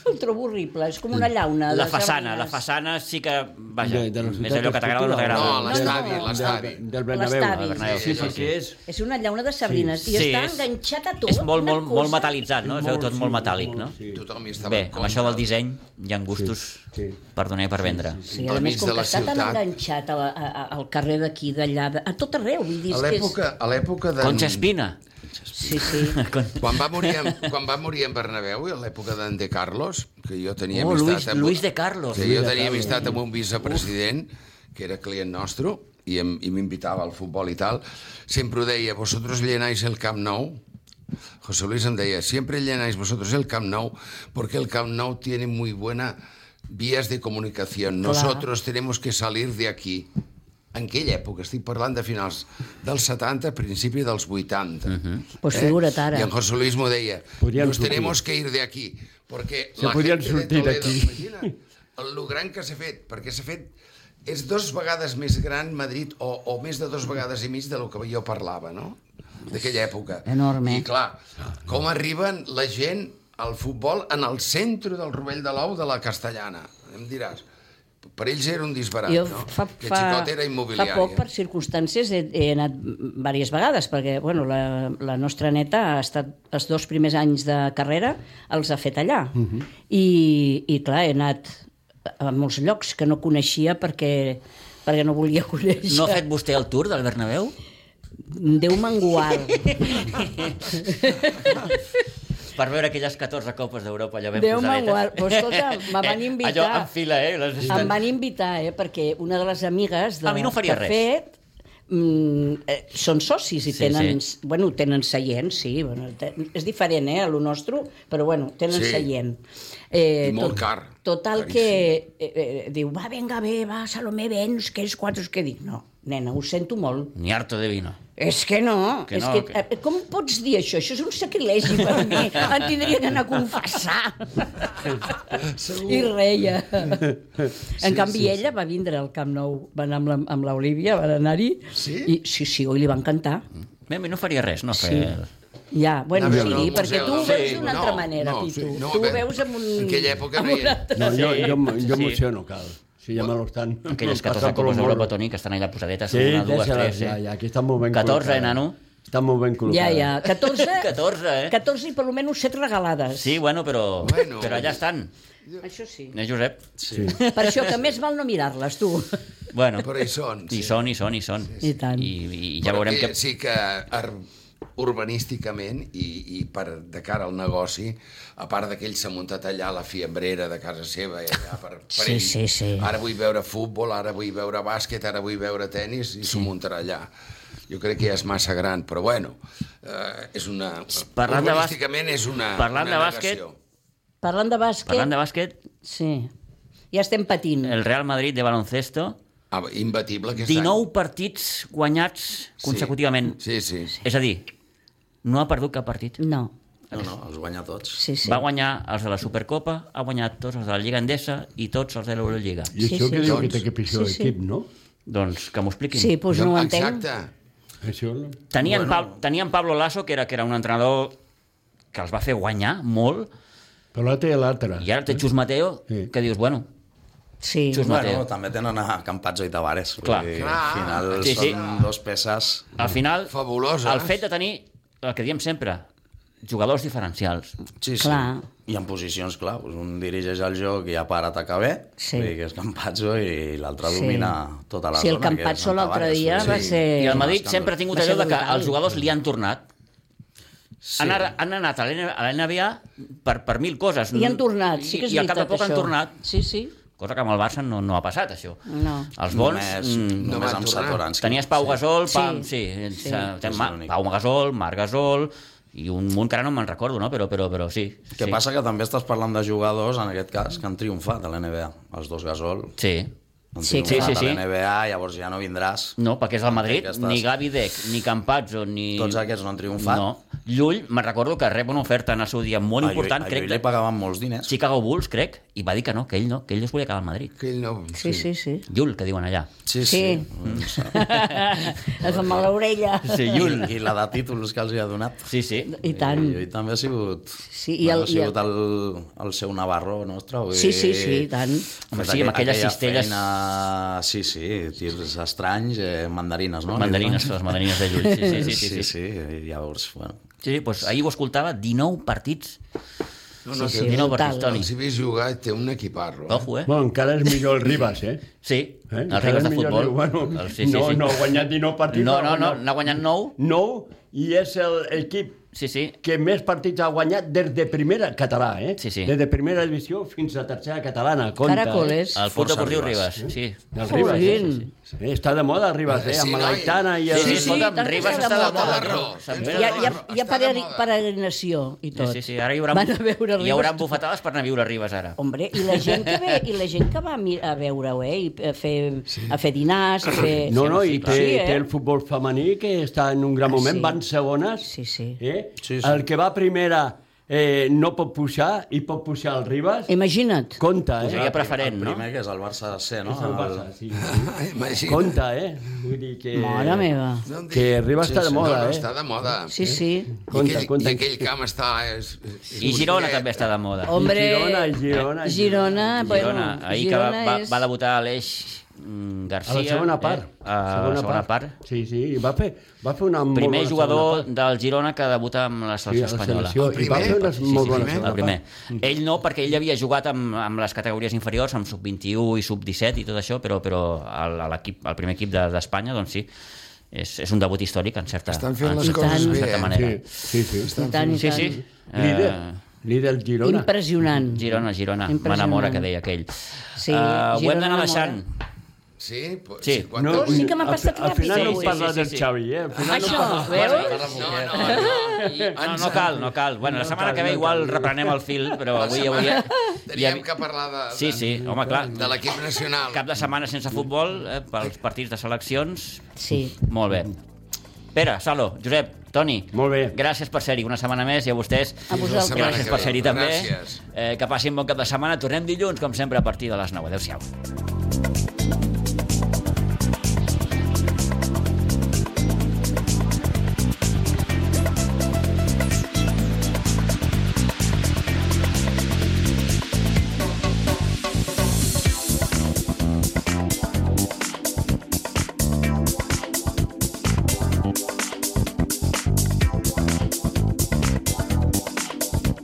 Speaker 2: el trobo horrible. És com una llauna.
Speaker 1: La
Speaker 2: de
Speaker 1: façana, la
Speaker 2: sardines.
Speaker 1: façana sí que... Vaja,
Speaker 5: De- de la
Speaker 1: és
Speaker 5: ciutat
Speaker 1: allò que t'agrada o no t'agrada.
Speaker 3: no,
Speaker 5: esportiva.
Speaker 3: a l'estadi, a l'estadi.
Speaker 5: Del, del Bernabéu.
Speaker 2: L'estadi. Al
Speaker 1: Bernabéu, sí,
Speaker 5: Sí,
Speaker 1: sí.
Speaker 5: perquè és...
Speaker 2: És una llauna de sabrines i
Speaker 1: Sí,
Speaker 2: està
Speaker 1: és-
Speaker 2: enganxat a tot.
Speaker 1: És molt,
Speaker 2: una
Speaker 1: molt,
Speaker 2: cosa.
Speaker 1: molt metal·litzat, no? Es veu tot
Speaker 5: sí,
Speaker 1: molt metàl·lic, no?
Speaker 5: sí.
Speaker 3: Tothom hi estava
Speaker 1: Bé,
Speaker 3: en
Speaker 1: amb
Speaker 3: contra.
Speaker 1: això del disseny hi ha gustos
Speaker 5: Sí, sí.
Speaker 1: per donar i per vendre.
Speaker 2: Sí, a
Speaker 3: Al
Speaker 2: més,
Speaker 3: mig
Speaker 2: com
Speaker 3: de
Speaker 2: que
Speaker 3: la
Speaker 2: està tan
Speaker 3: ciutat.
Speaker 2: enganxat a la, a, a, al carrer d'aquí, d'allà, de- a tot arreu, vull dir,
Speaker 3: A
Speaker 2: és que és...
Speaker 3: l'època a l'època de...
Speaker 1: Concha Espina.
Speaker 2: Sí, sí.
Speaker 1: Con-
Speaker 3: Quan va morir en, quan va morir en Bernabéu, a l'època d'en De Carlos, que jo tenia
Speaker 1: Oh,
Speaker 3: amistat...
Speaker 1: Luis- Luis de Carlos.
Speaker 3: Que
Speaker 1: Luis
Speaker 3: jo tenia amistat amb un vicepresident, que era client nostre, i, em, i m'invitava al futbol i tal, sempre ho deia, vosotros llenáis el Camp Nou, José Luis em deia, siempre llenáis vosotros el Camp Nou, porque el Camp Nou tiene muy buena vías de comunicación. Nosotros tenemos que salir de aquí. En aquella època, estic parlant de finals dels 70, principi dels 80. Uh
Speaker 1: Mhm.
Speaker 3: -huh.
Speaker 2: Pues figura't ara.
Speaker 3: I en José Luis m'ho deia.
Speaker 5: Podríem
Speaker 3: Nos
Speaker 5: sortir.
Speaker 3: tenemos que ir de aquí. Porque
Speaker 5: Se podrien sortir d'aquí.
Speaker 3: Imagina el, lo gran que s'ha fet, perquè s'ha fet és dos vegades més gran Madrid o, o més de dos vegades i mig de lo que jo parlava, no? D'aquella època.
Speaker 2: Enorme.
Speaker 3: I clar, com arriben la gent al futbol en el centre del Rovell de l'Ou de la Castellana. Em diràs, per ells era un disbarat,
Speaker 2: Jo
Speaker 3: no?
Speaker 2: fa,
Speaker 3: que
Speaker 2: fa,
Speaker 3: Xicot era
Speaker 2: fa
Speaker 3: immobiliari.
Speaker 2: poc, per circumstàncies, he, he anat diverses vegades, perquè bueno, la, la nostra neta ha estat els dos primers anys de carrera, els ha fet allà. Uh -huh. I, I, clar, he anat a molts llocs que no coneixia perquè perquè no volia conèixer.
Speaker 1: No ha fet vostè el tour del Bernabéu?
Speaker 2: Déu mangual.
Speaker 1: Per veure aquelles 14 copes d'Europa, allò ben
Speaker 2: Déu
Speaker 1: posadetes.
Speaker 2: me'n guard. Però escolta, me van
Speaker 1: Eh,
Speaker 2: invitar.
Speaker 1: Allò en fila, eh? Les...
Speaker 2: Em van invitar, eh, perquè una de les amigues de,
Speaker 1: A mi no ho faria
Speaker 2: que ha
Speaker 1: res.
Speaker 2: fet mm, eh, són socis i
Speaker 1: Sí,
Speaker 2: tenen,
Speaker 1: sí.
Speaker 2: bueno, tenen seient, sí, bueno, te, és diferent, eh, a lo nostre, però bueno, tenen
Speaker 3: Sí.
Speaker 2: seient. Eh,
Speaker 3: I molt car,
Speaker 2: Total
Speaker 3: caríssim.
Speaker 2: que eh, eh, diu, va, venga, bé, va, Salomé, vens, que és quatre, és que dic, no, nena, ho sento molt.
Speaker 1: Ni harto de vino.
Speaker 2: És que no,
Speaker 1: Que
Speaker 2: és
Speaker 1: no,
Speaker 2: que,
Speaker 1: que-
Speaker 2: eh, com pots dir això? Això és un sacrilegi per mi, em tindria que anar a confessar. I reia. en canvi, sí, ella va vindre al Camp Nou, va anar amb la- amb l'Olivia, va anar-hi.
Speaker 3: Sí?
Speaker 2: I, sí, sí, oi, li va encantar.
Speaker 1: Bé, a mi no faria res, no fer...
Speaker 2: Sí. Ja, bueno,
Speaker 3: Anar a veure
Speaker 2: sí,
Speaker 3: el
Speaker 2: perquè
Speaker 3: museu,
Speaker 2: tu ho
Speaker 3: no?
Speaker 2: veus
Speaker 3: Sí,
Speaker 2: d'una
Speaker 3: no,
Speaker 2: altra manera,
Speaker 3: no,
Speaker 2: Pitu.
Speaker 3: sí, no,
Speaker 2: tu ho
Speaker 3: a veure,
Speaker 2: veures amb un...
Speaker 3: en aquella època
Speaker 2: amb
Speaker 3: no
Speaker 2: un
Speaker 3: hi era.
Speaker 2: altre-
Speaker 5: No, jo, jo, m- jo
Speaker 1: Sí.
Speaker 5: m'emociono, cal. Si ja me l'estan...
Speaker 1: Aquelles
Speaker 5: passant
Speaker 1: 14
Speaker 5: pel
Speaker 1: copes d'Europa,
Speaker 5: morro.
Speaker 1: Toni, que estan allà posadetes,
Speaker 5: Sí,
Speaker 1: una, dues,
Speaker 5: deixa-les,
Speaker 1: tres,
Speaker 5: ja,
Speaker 1: eh?
Speaker 5: ja, aquí estan molt ben
Speaker 1: 14,
Speaker 5: col·locades.
Speaker 1: eh, nano?
Speaker 5: Estan molt ben
Speaker 2: Ja,
Speaker 5: col·locades.
Speaker 2: ja, 14...
Speaker 1: 14, eh?
Speaker 2: 14 i per almenys 7 regalades.
Speaker 1: Sí, bueno, però,
Speaker 3: Bueno.
Speaker 1: però allà estan,
Speaker 2: Això sí.
Speaker 1: eh, Josep?
Speaker 5: Sí.
Speaker 2: Per això que més val no mirar-les, tu.
Speaker 1: Bueno,
Speaker 3: Però hi són.
Speaker 1: i
Speaker 3: sí.
Speaker 1: són, i són, i són.
Speaker 2: I tant.
Speaker 1: I, i ja
Speaker 3: Però
Speaker 1: veurem
Speaker 3: que...
Speaker 1: que...
Speaker 3: Sí que ar... urbanísticament i, i per, de cara al negoci, a part d'aquell s'ha muntat allà a la fiambrera de casa seva, i allà per, per
Speaker 2: Sí,
Speaker 3: ell.
Speaker 2: sí, sí.
Speaker 3: ara vull veure futbol, ara vull veure bàsquet, ara vull veure tennis i s'ho muntarà allà. Jo crec que ja és massa gran, però bueno, eh, és una...
Speaker 1: Parlant de bàs-
Speaker 3: urbanísticament és una
Speaker 1: parlant
Speaker 3: una
Speaker 1: de bàsquet,
Speaker 3: negació.
Speaker 2: Parlant de bàsquet...
Speaker 1: Parlant de bàsquet,
Speaker 2: Sí. Ja estem patint.
Speaker 1: el Real Madrid de baloncesto,
Speaker 3: Ah, imbatible aquest
Speaker 1: 19 partits guanyats
Speaker 3: any.
Speaker 1: consecutivament.
Speaker 3: Sí, sí. sí.
Speaker 1: És a dir, no ha perdut cap partit.
Speaker 2: No.
Speaker 4: No, no, els guanya tots.
Speaker 2: Sí, sí.
Speaker 1: Va guanyar els de la Supercopa, ha guanyat tots els de la Lliga Endesa i tots els de l'Eurolliga.
Speaker 5: I
Speaker 2: Sí,
Speaker 5: això
Speaker 2: sí.
Speaker 5: que diu que
Speaker 3: Doncs-
Speaker 5: té que pitjor
Speaker 2: Sí, sí.
Speaker 5: equip, no?
Speaker 1: Doncs que m'ho expliquin.
Speaker 2: Sí, doncs no ho entenc.
Speaker 3: Exacte.
Speaker 5: Això no.
Speaker 1: Tenien, bueno. pa tenien Pablo Lasso, que era, que era un entrenador que els va fer guanyar molt,
Speaker 5: Però la té l'altra.
Speaker 1: i ara té Xus Mateo,
Speaker 5: Sí.
Speaker 1: que dius, bueno,
Speaker 2: Sí.
Speaker 1: Xus Mateo.
Speaker 4: Bueno, també tenen a Campazzo i Tavares. vull
Speaker 1: Clar.
Speaker 4: dir,
Speaker 3: Clar.
Speaker 4: Al final
Speaker 1: Sí, sí.
Speaker 4: són dos peces...
Speaker 1: Al final,
Speaker 3: Fabuloses.
Speaker 1: el fet de tenir, el que diem sempre, jugadors diferencials.
Speaker 4: Sí, sí.
Speaker 2: Clar.
Speaker 4: I en posicions claus. Un dirigeix el joc i ja per atacar bé,
Speaker 2: Sí.
Speaker 4: vull dir que és Campazzo, i l'altre
Speaker 2: Sí.
Speaker 4: domina tota la
Speaker 2: Sí, el
Speaker 4: zona. que és
Speaker 2: Campazzo
Speaker 4: en
Speaker 2: l'altre
Speaker 4: Tavares,
Speaker 2: dia
Speaker 4: vull dir.
Speaker 2: va ser...
Speaker 1: I el Madrid
Speaker 4: escàndol.
Speaker 1: sempre ha tingut
Speaker 2: Va ser
Speaker 1: allò de que
Speaker 2: brutal.
Speaker 1: els jugadors li han tornat. Sí. Han, ara- han anat a l'N- a la NBA per, per mil coses.
Speaker 2: I han tornat, sí que és
Speaker 1: I, i al cap de
Speaker 2: veritat,
Speaker 1: poc han
Speaker 2: això.
Speaker 1: tornat,
Speaker 2: Sí, sí.
Speaker 1: cosa que amb el Barça no, no ha passat, això.
Speaker 2: No.
Speaker 1: Els bons...
Speaker 4: Només,
Speaker 1: mm,
Speaker 3: no
Speaker 4: només
Speaker 3: van
Speaker 4: amb
Speaker 3: tornar.
Speaker 4: Satoranski.
Speaker 1: Tenies Pau Gasol,
Speaker 2: Sí.
Speaker 1: Pam, sí. sí.
Speaker 2: Sí.
Speaker 1: sí.
Speaker 4: És
Speaker 1: Ma,
Speaker 4: l'únic.
Speaker 1: Pau Gasol, Marc Gasol, i un munt que ara no me'n recordo, no? però, però, però sí.
Speaker 4: Que
Speaker 1: sí.
Speaker 4: passa que també estàs parlant de jugadors, en aquest cas, que han triomfat a l'NBA. Els dos Gasol
Speaker 1: Sí.
Speaker 4: han
Speaker 2: Sí,
Speaker 4: triomfat
Speaker 1: sí, sí, sí.
Speaker 4: a l'NBA, llavors ja no vindràs.
Speaker 1: No, perquè és el Madrid,
Speaker 4: Aquestes-
Speaker 1: ni Gavi Dec, ni Campazzo, ni...
Speaker 4: Tots aquests no han triomfat.
Speaker 1: No. Llull, me'n recordo que rep una oferta en el seu dia molt
Speaker 4: A Llull-
Speaker 1: important,
Speaker 4: a
Speaker 1: crec,
Speaker 4: Llull li
Speaker 1: de
Speaker 4: pagaven molts diners.
Speaker 1: Chicago Bulls, crec, i va dir que no, que ell no, que ell es volia quedar al Madrid.
Speaker 3: Que ell no...
Speaker 2: Sí, sí, sí.
Speaker 1: Llull, que diuen allà.
Speaker 4: Sí,
Speaker 2: Sí.
Speaker 4: sí.
Speaker 2: Et fa mal l'orella.
Speaker 1: Sí, Llull.
Speaker 4: I, I la de títols que els hi ha donat.
Speaker 1: Sí, sí.
Speaker 2: I tant.
Speaker 4: I, i també ha sigut,
Speaker 2: Sí,
Speaker 4: sí,
Speaker 2: i
Speaker 4: i
Speaker 2: el-
Speaker 4: el, ha sigut el, el seu Navarro nostre. Vull
Speaker 2: Sí,
Speaker 4: dir,
Speaker 2: sí, sí, i tant.
Speaker 1: Home,
Speaker 4: ha fet
Speaker 1: sí, amb aquelles
Speaker 4: aquella
Speaker 1: cistelles-
Speaker 4: Feina, sí, sí, tirs estranys, eh, mandarines, no? "Ah,
Speaker 1: Mandarines, les mandarines de Llull. Sí, sí, sí. sí, sí, sí.
Speaker 4: i llavors, bueno...
Speaker 1: sí, sí doncs ahir ho escoltava, 19 partits.
Speaker 3: No,
Speaker 2: Sí,
Speaker 3: no, sí,
Speaker 2: sí.
Speaker 3: sí.
Speaker 1: 19
Speaker 2: brutal.
Speaker 1: partits, Toni.
Speaker 3: Els he vist jugar, té un equiparro. Eh?
Speaker 1: Ojo, eh?
Speaker 5: Bueno, encara és millor el Ribas, eh?
Speaker 1: Sí,
Speaker 5: eh?
Speaker 1: els regles de
Speaker 5: és millor
Speaker 1: futbol.
Speaker 5: el- Bueno,
Speaker 1: Els- sí, sí,
Speaker 5: no,
Speaker 1: sí.
Speaker 5: no, ha guanyat 19 partits.
Speaker 1: No,
Speaker 5: ha
Speaker 1: no, no,
Speaker 5: guanyat
Speaker 1: n'ha guanyat 9.
Speaker 5: 9 i és el- l'equip
Speaker 1: Sí, sí.
Speaker 5: que més partits ha guanyat des de primera català, eh?
Speaker 1: Sí, sí.
Speaker 5: Des de primera divisió fins a tercera catalana. Compte,
Speaker 2: Caracoles.
Speaker 1: El Club
Speaker 4: Força
Speaker 1: Deportiu
Speaker 4: Ribas.
Speaker 1: Ribas, sí.
Speaker 5: Eh? El Ribas, eh?
Speaker 2: Ui.
Speaker 5: Sí, sí, sí. Està de moda el Ribas, eh?
Speaker 3: Sí,
Speaker 5: Amb
Speaker 3: noi.
Speaker 5: l'Aitana i el...
Speaker 1: Sí, sí,
Speaker 2: sí, tant
Speaker 1: escolta'm,
Speaker 2: que
Speaker 1: Ribas
Speaker 2: està
Speaker 1: està
Speaker 2: de
Speaker 1: de
Speaker 2: moda,
Speaker 1: moda.
Speaker 3: Ribas.
Speaker 1: tio. Se'n
Speaker 2: Hi
Speaker 1: ve
Speaker 2: ha,
Speaker 1: de
Speaker 2: hi ha,
Speaker 1: moda.
Speaker 2: hi ha
Speaker 3: Està de
Speaker 2: peregrin-
Speaker 3: moda.
Speaker 2: peregrinació i tot.
Speaker 1: Sí, sí, sí, ara hi haurà,
Speaker 2: Van a veure
Speaker 1: hi haurà
Speaker 2: Ribas.
Speaker 1: bufetades per anar a viure Ribas ara.
Speaker 2: Hombre, i la gent que ve, i la gent que va a, mi- a veure-ho, eh, i a fer, sí. a fer dinars, a fer...
Speaker 5: No, no,
Speaker 1: sí, Ah,
Speaker 5: i té,
Speaker 1: clar.
Speaker 5: sí,
Speaker 2: Sí, eh?
Speaker 5: té el futbol femení que està en un gran moment,
Speaker 2: sí.
Speaker 5: sí. van segones.
Speaker 2: Sí, sí.
Speaker 5: Eh?
Speaker 4: Sí, sí.
Speaker 5: El que va a primera eh, no pot pujar i pot pujar al Ribas.
Speaker 2: Imagina't.
Speaker 5: Compte,
Speaker 1: O sigui
Speaker 5: eh?
Speaker 1: que preferent,
Speaker 4: el
Speaker 1: no?
Speaker 4: primer, que és el Barça C, no?
Speaker 5: És el Barça, sí.
Speaker 3: Ah, imagina.
Speaker 5: Compte, eh? Vull dir que...
Speaker 2: Mare meva.
Speaker 3: No em diguis.
Speaker 5: Que Ribas
Speaker 4: Sí,
Speaker 5: està de
Speaker 4: sí,
Speaker 5: moda,
Speaker 3: no, no,
Speaker 5: eh?
Speaker 3: està de moda.
Speaker 2: Sí, sí.
Speaker 3: I,
Speaker 5: Compte,
Speaker 3: aquell,
Speaker 5: compte.
Speaker 3: I aquell camp està... És, és
Speaker 1: I Girona també està de moda.
Speaker 2: Hombre,
Speaker 5: Girona, i Girona, i
Speaker 2: Girona, bueno,
Speaker 1: Girona, ahir que va,
Speaker 2: Girona
Speaker 1: va,
Speaker 2: és...
Speaker 1: va debutar l'Eix mm,
Speaker 5: A
Speaker 1: Garcia.
Speaker 5: la segona part.
Speaker 1: Eh? A la segona, part.
Speaker 5: Sí, sí, i va fer, va fer una molt
Speaker 1: Primer
Speaker 5: bona
Speaker 1: jugador
Speaker 5: segona part.
Speaker 1: del Girona que debuta amb la
Speaker 5: Sí,
Speaker 1: selecció
Speaker 5: a la
Speaker 1: espanyola.
Speaker 5: selecció. I va
Speaker 3: primer?
Speaker 5: fer una
Speaker 3: Sí,
Speaker 1: eh? Sí,
Speaker 5: molt
Speaker 1: sí,
Speaker 5: bona
Speaker 1: sí,
Speaker 5: segona
Speaker 1: el primer.
Speaker 5: part.
Speaker 1: Ell no, perquè ell havia jugat amb, amb les categories inferiors, amb sub-21 i sub-17 i tot això, però, però el, l'equip, el primer equip de- d'Espanya, doncs sí, és, és un debut històric, en certa,
Speaker 3: Estan fent
Speaker 1: en
Speaker 3: les
Speaker 1: certa-
Speaker 2: coses
Speaker 1: en
Speaker 2: bé,
Speaker 1: certa
Speaker 3: eh?
Speaker 1: manera.
Speaker 5: Sí, sí, sí.
Speaker 2: I tant, i
Speaker 1: Sí,
Speaker 2: tant.
Speaker 1: sí.
Speaker 5: Líder,
Speaker 1: Eh,
Speaker 5: líder Girona.
Speaker 2: Impressionant.
Speaker 1: Girona, Girona,
Speaker 2: Impressionant.
Speaker 1: m'enamora, que deia aquell.
Speaker 2: Sí,
Speaker 1: Eh, ho hem
Speaker 2: Girona
Speaker 1: d'anar
Speaker 2: m'enamora.
Speaker 1: deixant.
Speaker 3: Sí? Pues,
Speaker 1: Sí.
Speaker 3: No,
Speaker 2: Oh, sí que m'ha
Speaker 5: al fi-
Speaker 2: passat
Speaker 5: Al final
Speaker 2: ràpid.
Speaker 5: no
Speaker 1: Sí, sí,
Speaker 5: parla
Speaker 1: sí,
Speaker 5: del
Speaker 1: sí.
Speaker 5: Xavi, eh? Al final
Speaker 2: Això,
Speaker 5: no parla-
Speaker 2: veus?
Speaker 3: no, no, no.
Speaker 1: No, no cal, no cal. Bueno, la setmana
Speaker 5: cal,
Speaker 1: que ve
Speaker 5: no
Speaker 1: igual
Speaker 5: cal.
Speaker 1: reprenem el fil, però avui... avui ja, ja,
Speaker 3: Teníem que parlar de, de,
Speaker 1: sí, sí, home, clar.
Speaker 3: de l'equip nacional.
Speaker 1: Cap de setmana sense futbol, eh, pels partits de seleccions...
Speaker 2: Sí.
Speaker 1: Molt bé. Pere, Salo, Josep, Toni,
Speaker 5: Molt bé.
Speaker 1: gràcies per ser-hi una setmana més i a vostès
Speaker 2: A vosaltres.
Speaker 3: La setmana
Speaker 1: gràcies
Speaker 3: que
Speaker 1: per
Speaker 3: ve.
Speaker 1: ser-hi també.
Speaker 3: Gràcies.
Speaker 1: Eh, que passin bon cap de setmana. Tornem dilluns, com sempre, a partir de les 9. Adéu-siau.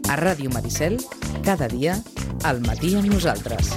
Speaker 6: A Ràdio Maricel, cada dia, al matí amb nosaltres.